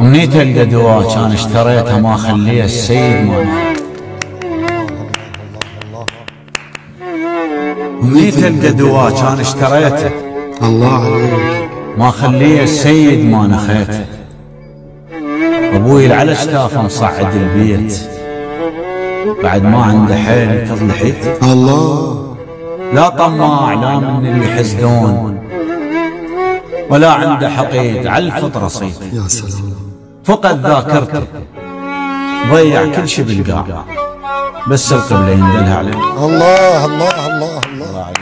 منيت الا دواء كان اشتريته ما خليه السيد مالك منيت الا دواء كان اشتريته الله عليك ما خليه السيد ما نخيته ابوي على شتافه مصعد البيت بعد ما عنده حيل تضلحيت الله لا طماع لا من اللي يحسدون ولا عنده حقيد على الفطره صيت يا سلام فقد ذاكرته ضيع كل شيء بالقاع بس القبله يندلها عليه الله الله الله الله